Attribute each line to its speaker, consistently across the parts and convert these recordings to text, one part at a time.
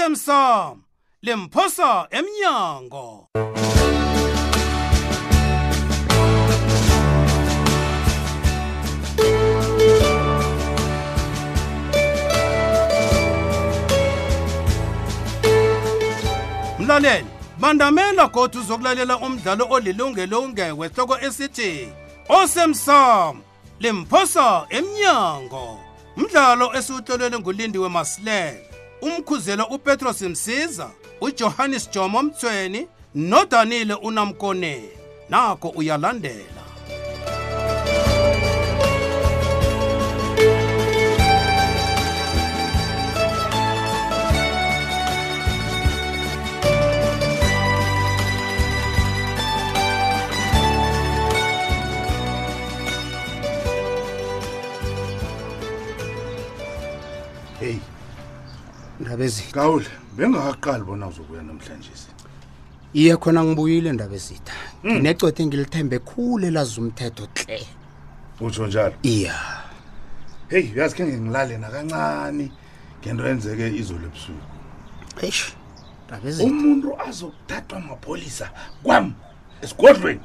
Speaker 1: osemsamo lemphosa emnyango mlaleli bandamela kodwa uzokulalela umdlalo olilungelo ungekwehloko esithi osemsamo limphosa emnyango umdlalo esiwuhlolelwe ngulindiwe masilela umkhuzelo upetros msiza ujohannes jomo mthweni nodanile unamkoneni nako uyalandela
Speaker 2: heyi
Speaker 3: ndaba ezitha
Speaker 2: gawule bengakaqali bona uzobuya namhlanje
Speaker 3: iye khona ngibuyile ndaba ezitha nginecwede ngilithembe khulu elazi umthetho hle
Speaker 2: utsho njalo
Speaker 3: iya
Speaker 2: heyi uyazi khe ngengilale nakancane ngento yenzeke izolo ebusuku
Speaker 3: eish ndaba ezitha
Speaker 2: umuntu azokuthathwa mapholisa kwam esigodlweni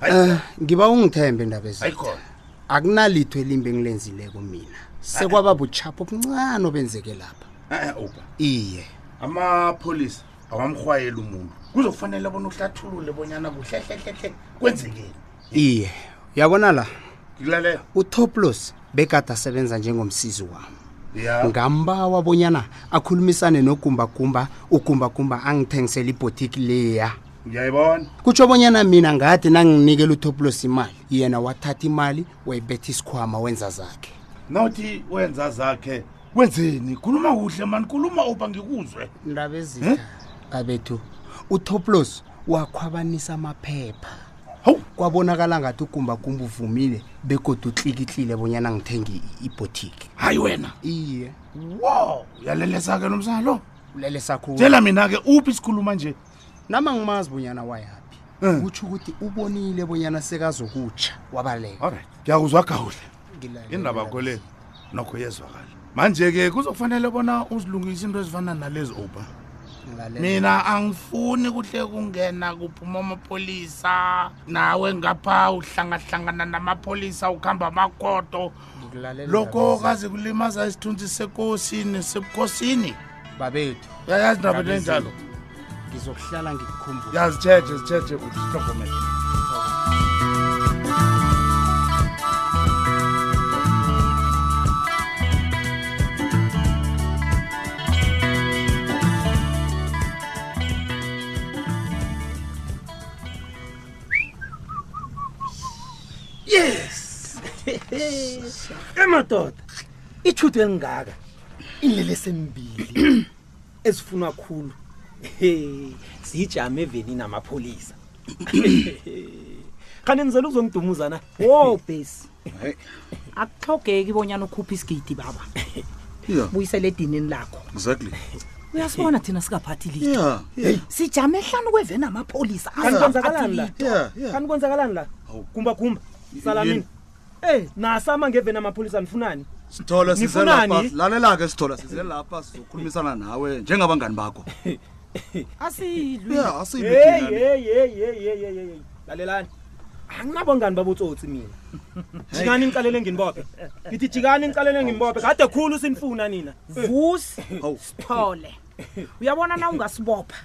Speaker 2: hayi
Speaker 3: um ngiba ungithembe ndaba ezitha
Speaker 2: hayi khona
Speaker 3: akunalitho elimbi engilenzileko mina sekwaba butshapho obuncane obenzeke lapha
Speaker 2: e-e uba
Speaker 3: iye
Speaker 2: amapholisa awamrhwayeli umuntu kuzokufanele bona uhlathulule bonyana kuhlehlehle kwenzekeni
Speaker 3: iye uyabona la
Speaker 2: ngikulalela
Speaker 3: utoplos bekade asebenza njengomsizi wami
Speaker 2: ya
Speaker 3: ngambawa bonyana akhulumisane nogumbagumba ugumbagumba angithengisela ibhotiki leya
Speaker 2: ngiyayibona
Speaker 3: kutsho bonyana mina ngathi nanginikela utoplos imali yena wathatha imali wayibetha isikhwama wenza zakhe
Speaker 2: nawuthi wenza zakhe wenzeni khuluma kuhle mani khuluma uba ngikuzwe
Speaker 3: ndaba ezitha abethu utoplos wakhwabanisa amaphepha
Speaker 2: hawu
Speaker 3: kwabonakala ngathi ugumbagumba uvumile begodwa utlikitlile bonyana ngithenge i- ibhotiki
Speaker 2: hayi wena
Speaker 3: iye
Speaker 2: wo uyalelesa-ke nomsana lo
Speaker 3: ulele sakhulu
Speaker 2: tshela mina-ke uphi sikhuluma nje
Speaker 3: nama ngimazi bonyana wayaphi
Speaker 2: Mm.
Speaker 3: kutsho ukuthi ubonile bonyana sekazokutsha wabaleka
Speaker 2: olright ngiyakuzwa gawule
Speaker 3: Ah, Ngilalela.
Speaker 2: indaba kho le nokho yezwakala manje-ke kuzokufanele bona uzilungise into ezifana nalezi oba
Speaker 3: Ngilalela.
Speaker 2: mina angifuni kuhle kungena kuphuma amapholisa nawe ngapha uhlangahlangana namapholisa ukuhamba amakoto
Speaker 3: Ngilalela
Speaker 2: lokho
Speaker 3: ndaba
Speaker 2: kaze kulimaza isithunzi sekosi nesebukhosini
Speaker 3: ezi- babethu
Speaker 2: uyayazi indaba
Speaker 3: Ndaba
Speaker 2: into enjalo
Speaker 3: ngizokuhlala ngikukhumbula
Speaker 2: yazitshetshe zitshetshe uzihlogomele
Speaker 4: yes emadoda ithudo elingaka indlela esembili ezifunwa khulu he siyijame evenini amapholisa kanti ngizela uzongidumuzana
Speaker 5: wo bhesi akuhlogeki bonyana ukhuphe isigidi baba
Speaker 6: Yeah.
Speaker 5: buyisele edinini lakho
Speaker 6: exactly
Speaker 5: uyasibona thina sikaphathi litho
Speaker 6: yeah yeah
Speaker 5: sijame ehlanu kweveni amapholisa
Speaker 4: kanti kwenzakalani la
Speaker 6: yeah yeah
Speaker 4: kanti kwenzakalani la
Speaker 6: Hawu.
Speaker 4: gumbagumba
Speaker 6: yini?
Speaker 4: salamini ey nasama ngeveni amapholisa nifunani
Speaker 6: sithola size
Speaker 4: Nifunani?
Speaker 6: lapha lalela-ke sithola size lapha sizokhulumisana nawe njengabangani bakho
Speaker 5: asilwi
Speaker 6: yeah
Speaker 4: Hey,
Speaker 6: asiyibekile
Speaker 4: hey, hey, hey, hey, hey, hey, hey. lalelani anginabangani babotsotsi mina jikani nicalele nginibophe ngithi jikani nicalele nginibophe kade khulu sinifuna nina
Speaker 5: vusi
Speaker 6: Hawu.
Speaker 5: sithole uyabona na ungasibopha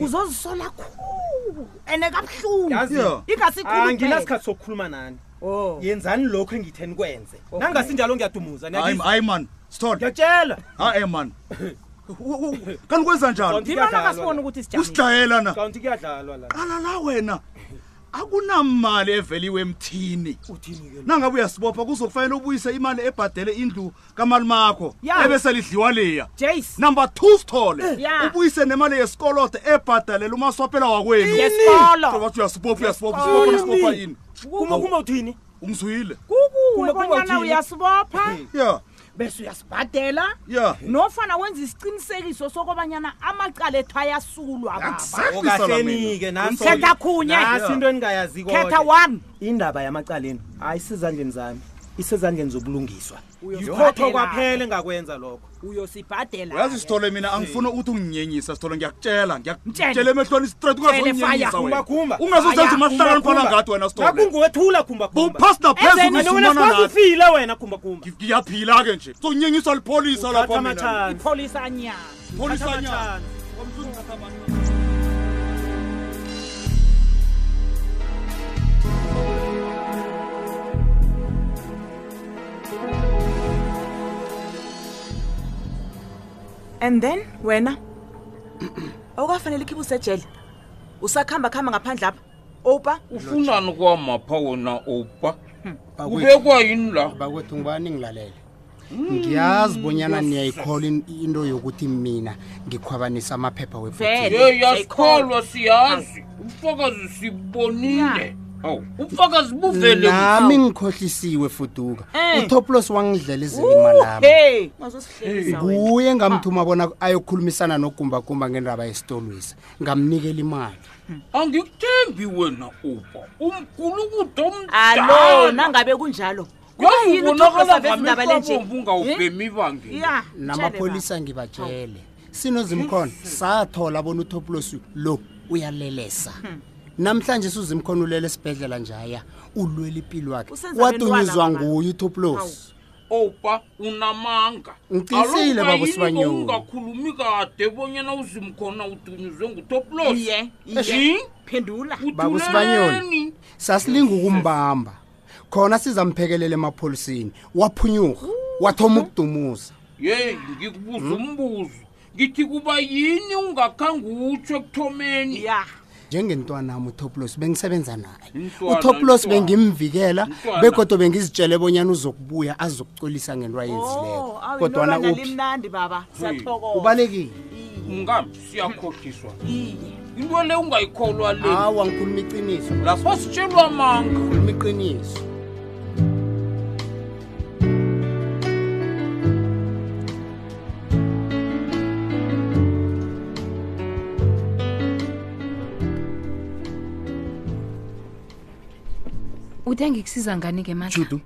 Speaker 5: uzozisola khulu ande kabuhlungu
Speaker 4: Yazi, Ah,
Speaker 6: Yeah.
Speaker 4: anginasikhathi sokukhuluma nani
Speaker 5: Oh.
Speaker 4: yenzani lokhu engithe nikwenze nangasinjalo ngiyadumuza
Speaker 6: Oh. hayi hayi man sithola
Speaker 4: ngiyatshela
Speaker 6: ha-e man kanti kwenza njalo
Speaker 4: Kanti-
Speaker 5: ngibona ngasibona ukuthi sijame
Speaker 6: usidlayela na
Speaker 4: kanti kuyadlalwa la
Speaker 6: alala wena akunamali eveliwe emthini
Speaker 4: uthini-ke
Speaker 6: nangabe uyasibopha kuzokufanele ubuyise imali ebhadele indlu kamali makho
Speaker 5: Ya.
Speaker 6: ebeselidliwa liya
Speaker 5: jace Eh,
Speaker 6: number two sithole
Speaker 5: Ya.
Speaker 6: ubuyise nemali yesikoloto ebhadalela umaswapela wakwenu
Speaker 5: yesikolo
Speaker 6: Wathi uyasibopha uyasibopha usibopha usibopha yini
Speaker 4: kumakuma uthini
Speaker 6: ungizuyile
Speaker 5: kukuwe
Speaker 4: Kumbe kuba
Speaker 5: bonyana
Speaker 4: uthini?
Speaker 5: uyasibopha
Speaker 6: ya
Speaker 5: bese uyasibhadela
Speaker 6: ya
Speaker 5: nofana wenza isiqinisekiso sokobanyana amacala ethu ayasulwa baba
Speaker 4: Okahlenike, naso-
Speaker 5: Khetha khunye.
Speaker 4: Nasi into engingayaziko
Speaker 5: khetha one
Speaker 4: indaba yamacaleni ayisezandleni zami
Speaker 7: isezandleni zobulungiswa
Speaker 6: Uyosibhadela.
Speaker 7: yikhotho kwaphela engakwenza lokho
Speaker 6: uyosibhadela
Speaker 4: uyazi sithole mina angifuni uthi unginyenyisa sithole ngiyakutshela
Speaker 6: Mtshele.
Speaker 4: ngiyakutshela emehlweni straight
Speaker 6: Mtshele, fire.
Speaker 4: ungazounyenyisa
Speaker 7: Khumba,
Speaker 4: wena
Speaker 7: khumba.
Speaker 4: ungazozenza
Speaker 6: Fire,
Speaker 4: umahlakani fana ngathi wena sithole
Speaker 7: nakungowethula khumbakhumba
Speaker 4: uphasi naphezulu usimana
Speaker 7: ufile wena khumbakhumba
Speaker 4: nathi ngiyaphila ke nje sonyenyiswa lipholisa lapha mina
Speaker 7: amathanzi
Speaker 6: ipholisa anyana
Speaker 4: pholisa nyana
Speaker 5: and then wena awukafanele ikhibe usejele usakuhamba kuhamba ngaphandle apha opa
Speaker 2: ufunani kwamapha wona opa
Speaker 5: Hmm.
Speaker 3: Bakwethu.
Speaker 2: ubekwa yini la
Speaker 3: bakwethu ngibani ngilalele ngiyazi
Speaker 5: Mm.
Speaker 3: bonyana niyayikhola in- into yokuthi mina ngikhwabanisa amaphepha
Speaker 6: Vele.
Speaker 3: webhotini
Speaker 2: ye
Speaker 5: Ayikholwa.
Speaker 2: yasikholwa siyazi
Speaker 5: Ah.
Speaker 2: ubufakazi sibonile awu ubufakazi buvele
Speaker 3: nami ngikhohlisiwe fuduka
Speaker 5: Eh.
Speaker 3: utoplos wangidlela izilima lami
Speaker 5: hey Ah. ungazosihlekisa wena
Speaker 3: kuye ngamthuma bona ayokhulumisana nogumbagumba ngendaba yesitolwisa ngamnikela imali
Speaker 2: angikuthembi wena opa umgulukudo
Speaker 5: alo nangabe kunjalo Kuba yini uThokoza veza indaba le nje? Eh?
Speaker 2: ungawubhemi bangeni
Speaker 5: ya
Speaker 3: namapholisa ngibatshele sinozimkhona
Speaker 5: Hmm.
Speaker 3: sathola bona utoplos lo uyalelesa
Speaker 5: Hmm.
Speaker 3: namhlanje suzimkhona ulele esibhedlela njaya ulwela impilo wakhe
Speaker 5: Usenza
Speaker 3: wadunyuzwa
Speaker 5: abentwana abantu.
Speaker 3: nguye utoplos
Speaker 2: opa unamanga
Speaker 3: Ngiqinisile, baba Sibanyoni.
Speaker 2: ungakhulumi kade bonyana uzimkhona udunyuzwe ngutoplos
Speaker 5: iye
Speaker 2: Ji?
Speaker 5: phendula
Speaker 3: Baba
Speaker 2: Uthuleleni.
Speaker 3: uSibanyoni sasilinga
Speaker 5: Hmm.
Speaker 3: ukumbamba khona sizamphekelela emapholiseni waphunyuka wathoma ukudumuza
Speaker 2: yeyi
Speaker 5: Hmm?
Speaker 2: ngikubuza umbuzo ngithi kuba yini ungakhange utsho ekuthomeni
Speaker 5: ya
Speaker 3: njengentwana nami utoplos bengisebenza naye
Speaker 2: Mntwana,
Speaker 3: utoplos
Speaker 2: mntwana.
Speaker 3: bengimvikela
Speaker 2: Mntwana.
Speaker 3: begodwa bengizitshele bonyana uzokubuya azokucolisa ngento ayenzileyo
Speaker 5: Oh, awu,
Speaker 3: kodwana
Speaker 5: inolwana
Speaker 3: uphi
Speaker 5: limnandi baba siyathokoza
Speaker 3: ubalekile
Speaker 2: ungami siyakhohliswa
Speaker 5: iye
Speaker 2: into le ungayikholwa le
Speaker 3: hawa ngikhuluma iqiniso
Speaker 2: lapha sitshelwa manga
Speaker 3: ngikhuluma iqiniso
Speaker 8: ude ngikusiza ngani-ke mandla
Speaker 4: judu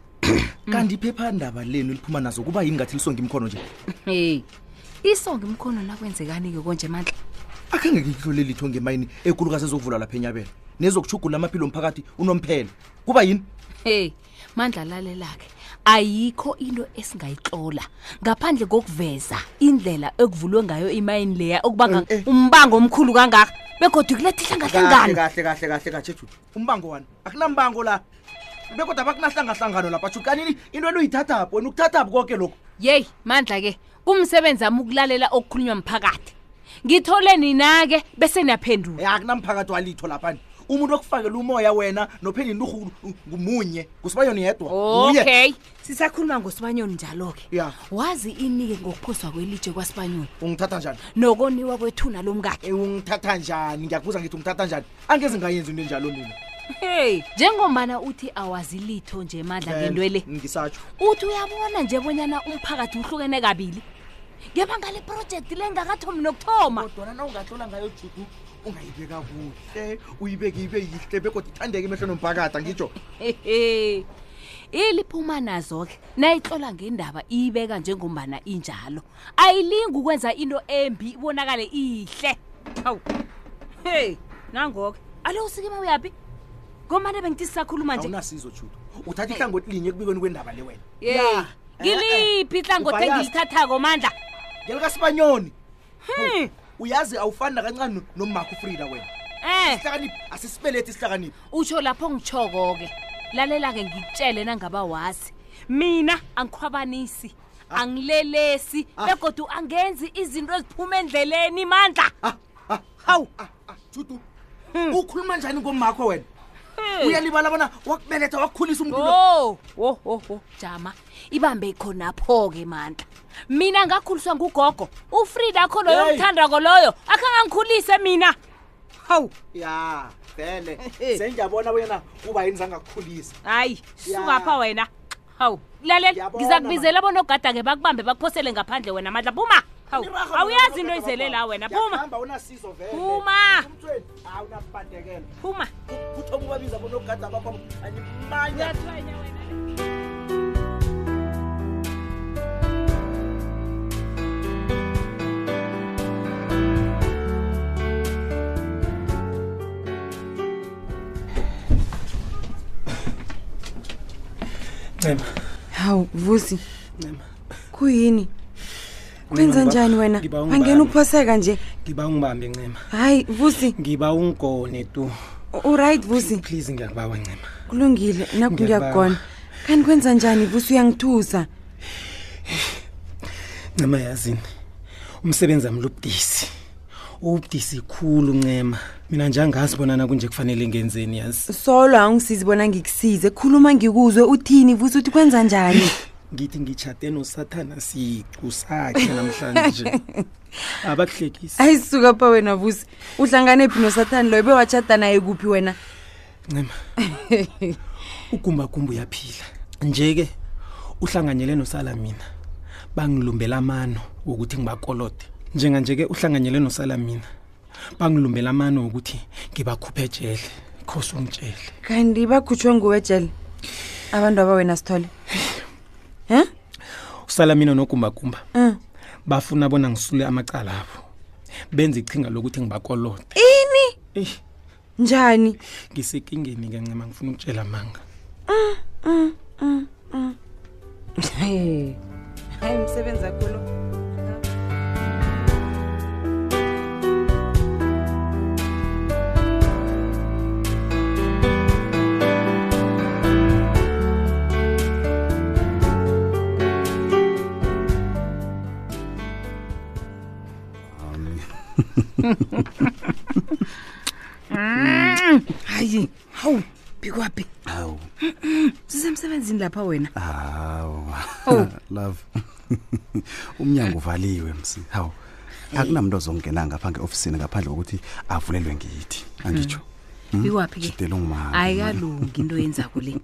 Speaker 4: kanti iphephandaba lenu liphuma nazo kuba yini ngathi lisongimkhono nje
Speaker 8: heyi isonge imkhono nakwenzekani-ke konje mandla
Speaker 4: akhange ngihlole litho ngemayini ekulukazi ezokuvula lapha enyabela nezokuchugulula amaphilo omphakathi unomphela kuba yini
Speaker 8: heyi mandla lalela-ke ayikho into esingayixola ngaphandle kokuveza indlela ekuvulwe ngayo imayini leya okubanga
Speaker 4: Eh,
Speaker 8: umbango omkhulu kangaka begodwa kuletha
Speaker 4: kahle
Speaker 8: ihlangahlangano
Speaker 4: kahle kahle kahle kahle judu umbango wani akunambango la bekodwa bakunahlangahlangano lapha judu kanini into enuyithathapho wena ukuthathapho konke lokhu
Speaker 8: yeyi mandla-ke kumsebenzi ami ukulalela okukhulunywa mphakathi ngithole nina-ke bese niyaphendula
Speaker 4: Eh, akunamphakathi walitho laphani umuntu okufakela umoya wena nophela inturhu ngumunye ngusibayoni yedwa nguye
Speaker 8: okay sisakhuluma ngosibanyoni njalo-ke
Speaker 4: Ya.
Speaker 8: wazi inike ngokuphoswa kwelitshe kwasibanyoni
Speaker 4: ungithatha njani
Speaker 8: nokoniwa kwethuna lomkakhe
Speaker 4: Eh, ungithatha njani ngiyakubuza ngithi ungithatha njani angeze ngayenzi into enjalo mina
Speaker 8: hey njengombana uthi awazi litho nje mandla ngento le
Speaker 4: ngisatsho
Speaker 8: uthi uyabona nje bonyana umphakathi uhlukene kabili ngebanga leprojekthi lengakathomi nokuthoma
Speaker 4: kodwana na ungahlola ngayo judu ungayibeka kuhle uyibeke ibe yihle bekodwa ithandeke emehlweni omphakathi angitsho
Speaker 8: Hehe. iliphuma nazo-ke nayitlola ngendaba iyibeka njengombana injalo ayilingi ukwenza into embi ibonakale iyihle hawu hey nangoke alo usikima uyaphi ngomane bengithi sisakhuluma nje
Speaker 4: awunasizo judu uthatha ihlangothi linye ekubikweni kwendaba le wena
Speaker 8: Hey, ngiliphi ihlangothi
Speaker 4: Ubhayazi.
Speaker 8: engilithathako mandla
Speaker 4: ngelikasibanyoni Hawu, uyazi awufani nakancane no- nomakho ufrida wena
Speaker 8: um
Speaker 4: isihlakaniphi asisibelethi isihlakaniphi
Speaker 8: utsho lapho ngitshoko-ke lalela-ke ngikutshele nangaba wazi mina Ah. angikhwabanisi angilelesi begodwa angenzi izinto eziphuma endleleni mandla
Speaker 4: hawu judu ukhuluma njani ngomakho wena uyalibala bona wakubeletha wakukhulisa umntu lo.
Speaker 8: o Hmm. wo wo wo jama ibambe khonapho-ke mandla mina ngakhuliswa ngugogo ufrida akho loyo
Speaker 4: Hey.
Speaker 8: omthandako loyo akhangangikhulise mina hawu
Speaker 4: ya vele sengiyabona wena kuba yini zangakukhulisa
Speaker 8: hayi
Speaker 4: Ya.
Speaker 8: sungapha wena hawu lalela
Speaker 4: Ngiyabona,
Speaker 8: ngiza kubizela bona ogada-ke bakubambe bakuphosele ngaphandle wena mandla puma hawu
Speaker 4: Nirarhe
Speaker 8: awuyazi
Speaker 4: bona
Speaker 8: into
Speaker 4: nogada
Speaker 8: izele la
Speaker 4: bagwama.
Speaker 8: wena puma
Speaker 4: Ngiyakukhamba, unasizo vele
Speaker 8: Phuma.
Speaker 4: Umthweni, hawu nakubandekela
Speaker 8: puma
Speaker 4: kuthoma ubabiza bona ogada bakwam animanya
Speaker 8: Ngiyathwenya wena.
Speaker 4: Hey, ncema
Speaker 9: hawu vusi kuyini kwenza
Speaker 4: Ncema,
Speaker 9: njani wena
Speaker 4: ngiba ungibambe.
Speaker 9: angena ukuphoseka nje
Speaker 4: ngiba ungibambe ncema
Speaker 9: hayi vusi
Speaker 4: ngiba ungigone tu
Speaker 9: uright vusi
Speaker 4: please ngiyakubawa ncema
Speaker 9: kulungile naku
Speaker 4: Ngiyakubawa.
Speaker 9: ngiyakugona kanti kwenza njani vusi uyangithusa
Speaker 4: ncema yazini umsebenzi wami lubudisi ubudisi khulu ncema mina nje angazi bonana kunje kufanele ngenzeni yazi
Speaker 9: solo awungisizi bona ngikusize khuluma ngikuzwe uthini vusi uthi kwenza njani
Speaker 4: ngithi ngitshate nosathana siqu sakhe namhlanje abakuhlekisi
Speaker 9: ayisuka pha wena vusi uhlangane phi nosathane loyo bewatshata naye kuphi wena
Speaker 4: ncema ugumbagumba uyaphila nje-ke uhlanganyele nosalamina bangilumbela amano wokuthi ngibakolode njenganje-ke uhlanganyele nosalamina bangilumbela amano wokuthi ngibakhuphe jele khose ungitshele
Speaker 9: kanti bakhutshwe nguwe jele abantu aba wena sithole um
Speaker 4: usalamina nogumbagumba
Speaker 9: um
Speaker 4: bafuna bona ngisule amacala abo benza ichinga lokuthi ngibakolode
Speaker 9: ini
Speaker 4: eyi
Speaker 9: njani
Speaker 4: ngisekingeni-ke ncema ngifuna ukutshela manga
Speaker 9: Mm, mm, mm. hayi msebenzi akho lo hayi hawu bikwaphi
Speaker 3: hawu
Speaker 9: sisemsebenzini lapha wena
Speaker 3: hawu
Speaker 9: Oh.
Speaker 3: love umnyango uvaliwe msi hawu akunamntu ozongena ngapha nge-ofisini ngaphandle kokuthi avulelwe ngithi angitsho Hmm?
Speaker 8: Iwaphi-ke?
Speaker 3: Jidela ungimanga, man.
Speaker 8: ayikalungi into yenzako le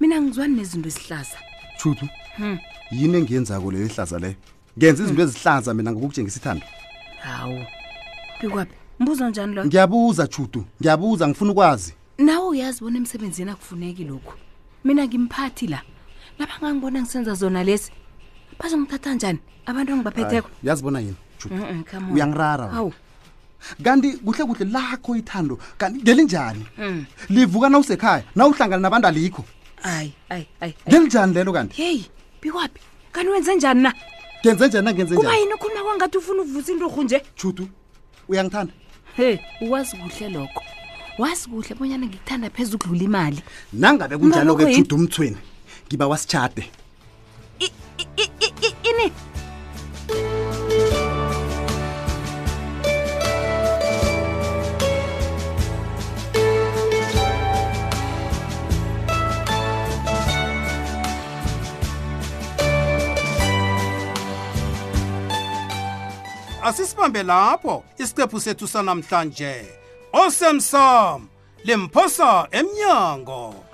Speaker 8: mina ngizwani nezinto ezihlaza
Speaker 3: Tshutu,
Speaker 8: Hmm.
Speaker 3: yini engiyenzako leyo ihlaza leyo ngenza izinto ezihlanza mina ngokukutshengisa ithando
Speaker 8: hawu bikwaphi mbuzo njani lo
Speaker 3: ngiyabuza tshutu ngiyabuza ngifuna ukwazi
Speaker 8: nawe uyazi bona emsebenzini akufuneki lokhu mina ngimphathi la nabangangibona ngisenza zona lesi bazongithatha njani abantu engibaphetheko
Speaker 3: Hayi, uyazibona yini tshutu
Speaker 8: Mm, mm, come on.
Speaker 3: uyangirara wena.
Speaker 8: Hawu.
Speaker 3: kanti kuhle kuhle lakho ithando kanti ngelinjani
Speaker 8: Mm.
Speaker 3: livuka nawusekhaya nawuhlangana nabantu alikho
Speaker 8: ayi ayi ayi
Speaker 3: ngelinjani lelo kanti
Speaker 8: heyi bikwaphi kanti wenze njani na
Speaker 3: ngenze njani nangenze
Speaker 8: kuba
Speaker 3: njani
Speaker 8: yini ukhuluma kwangathi ufuna ukuvusa intorhu nje
Speaker 3: tshutu uyangithanda
Speaker 8: he uwazi kuhle lokho wazi kuhle bonyana ngikuthanda phezu ukudlula imali
Speaker 3: nangabe
Speaker 8: Mna lokho
Speaker 3: kunjalo-ke
Speaker 8: yini?
Speaker 3: tshutu umthweni ngiba wasitshade
Speaker 8: ini
Speaker 1: asisibambe lapho isiqephu sethu sanamhlanje osemsom limphosa emnyango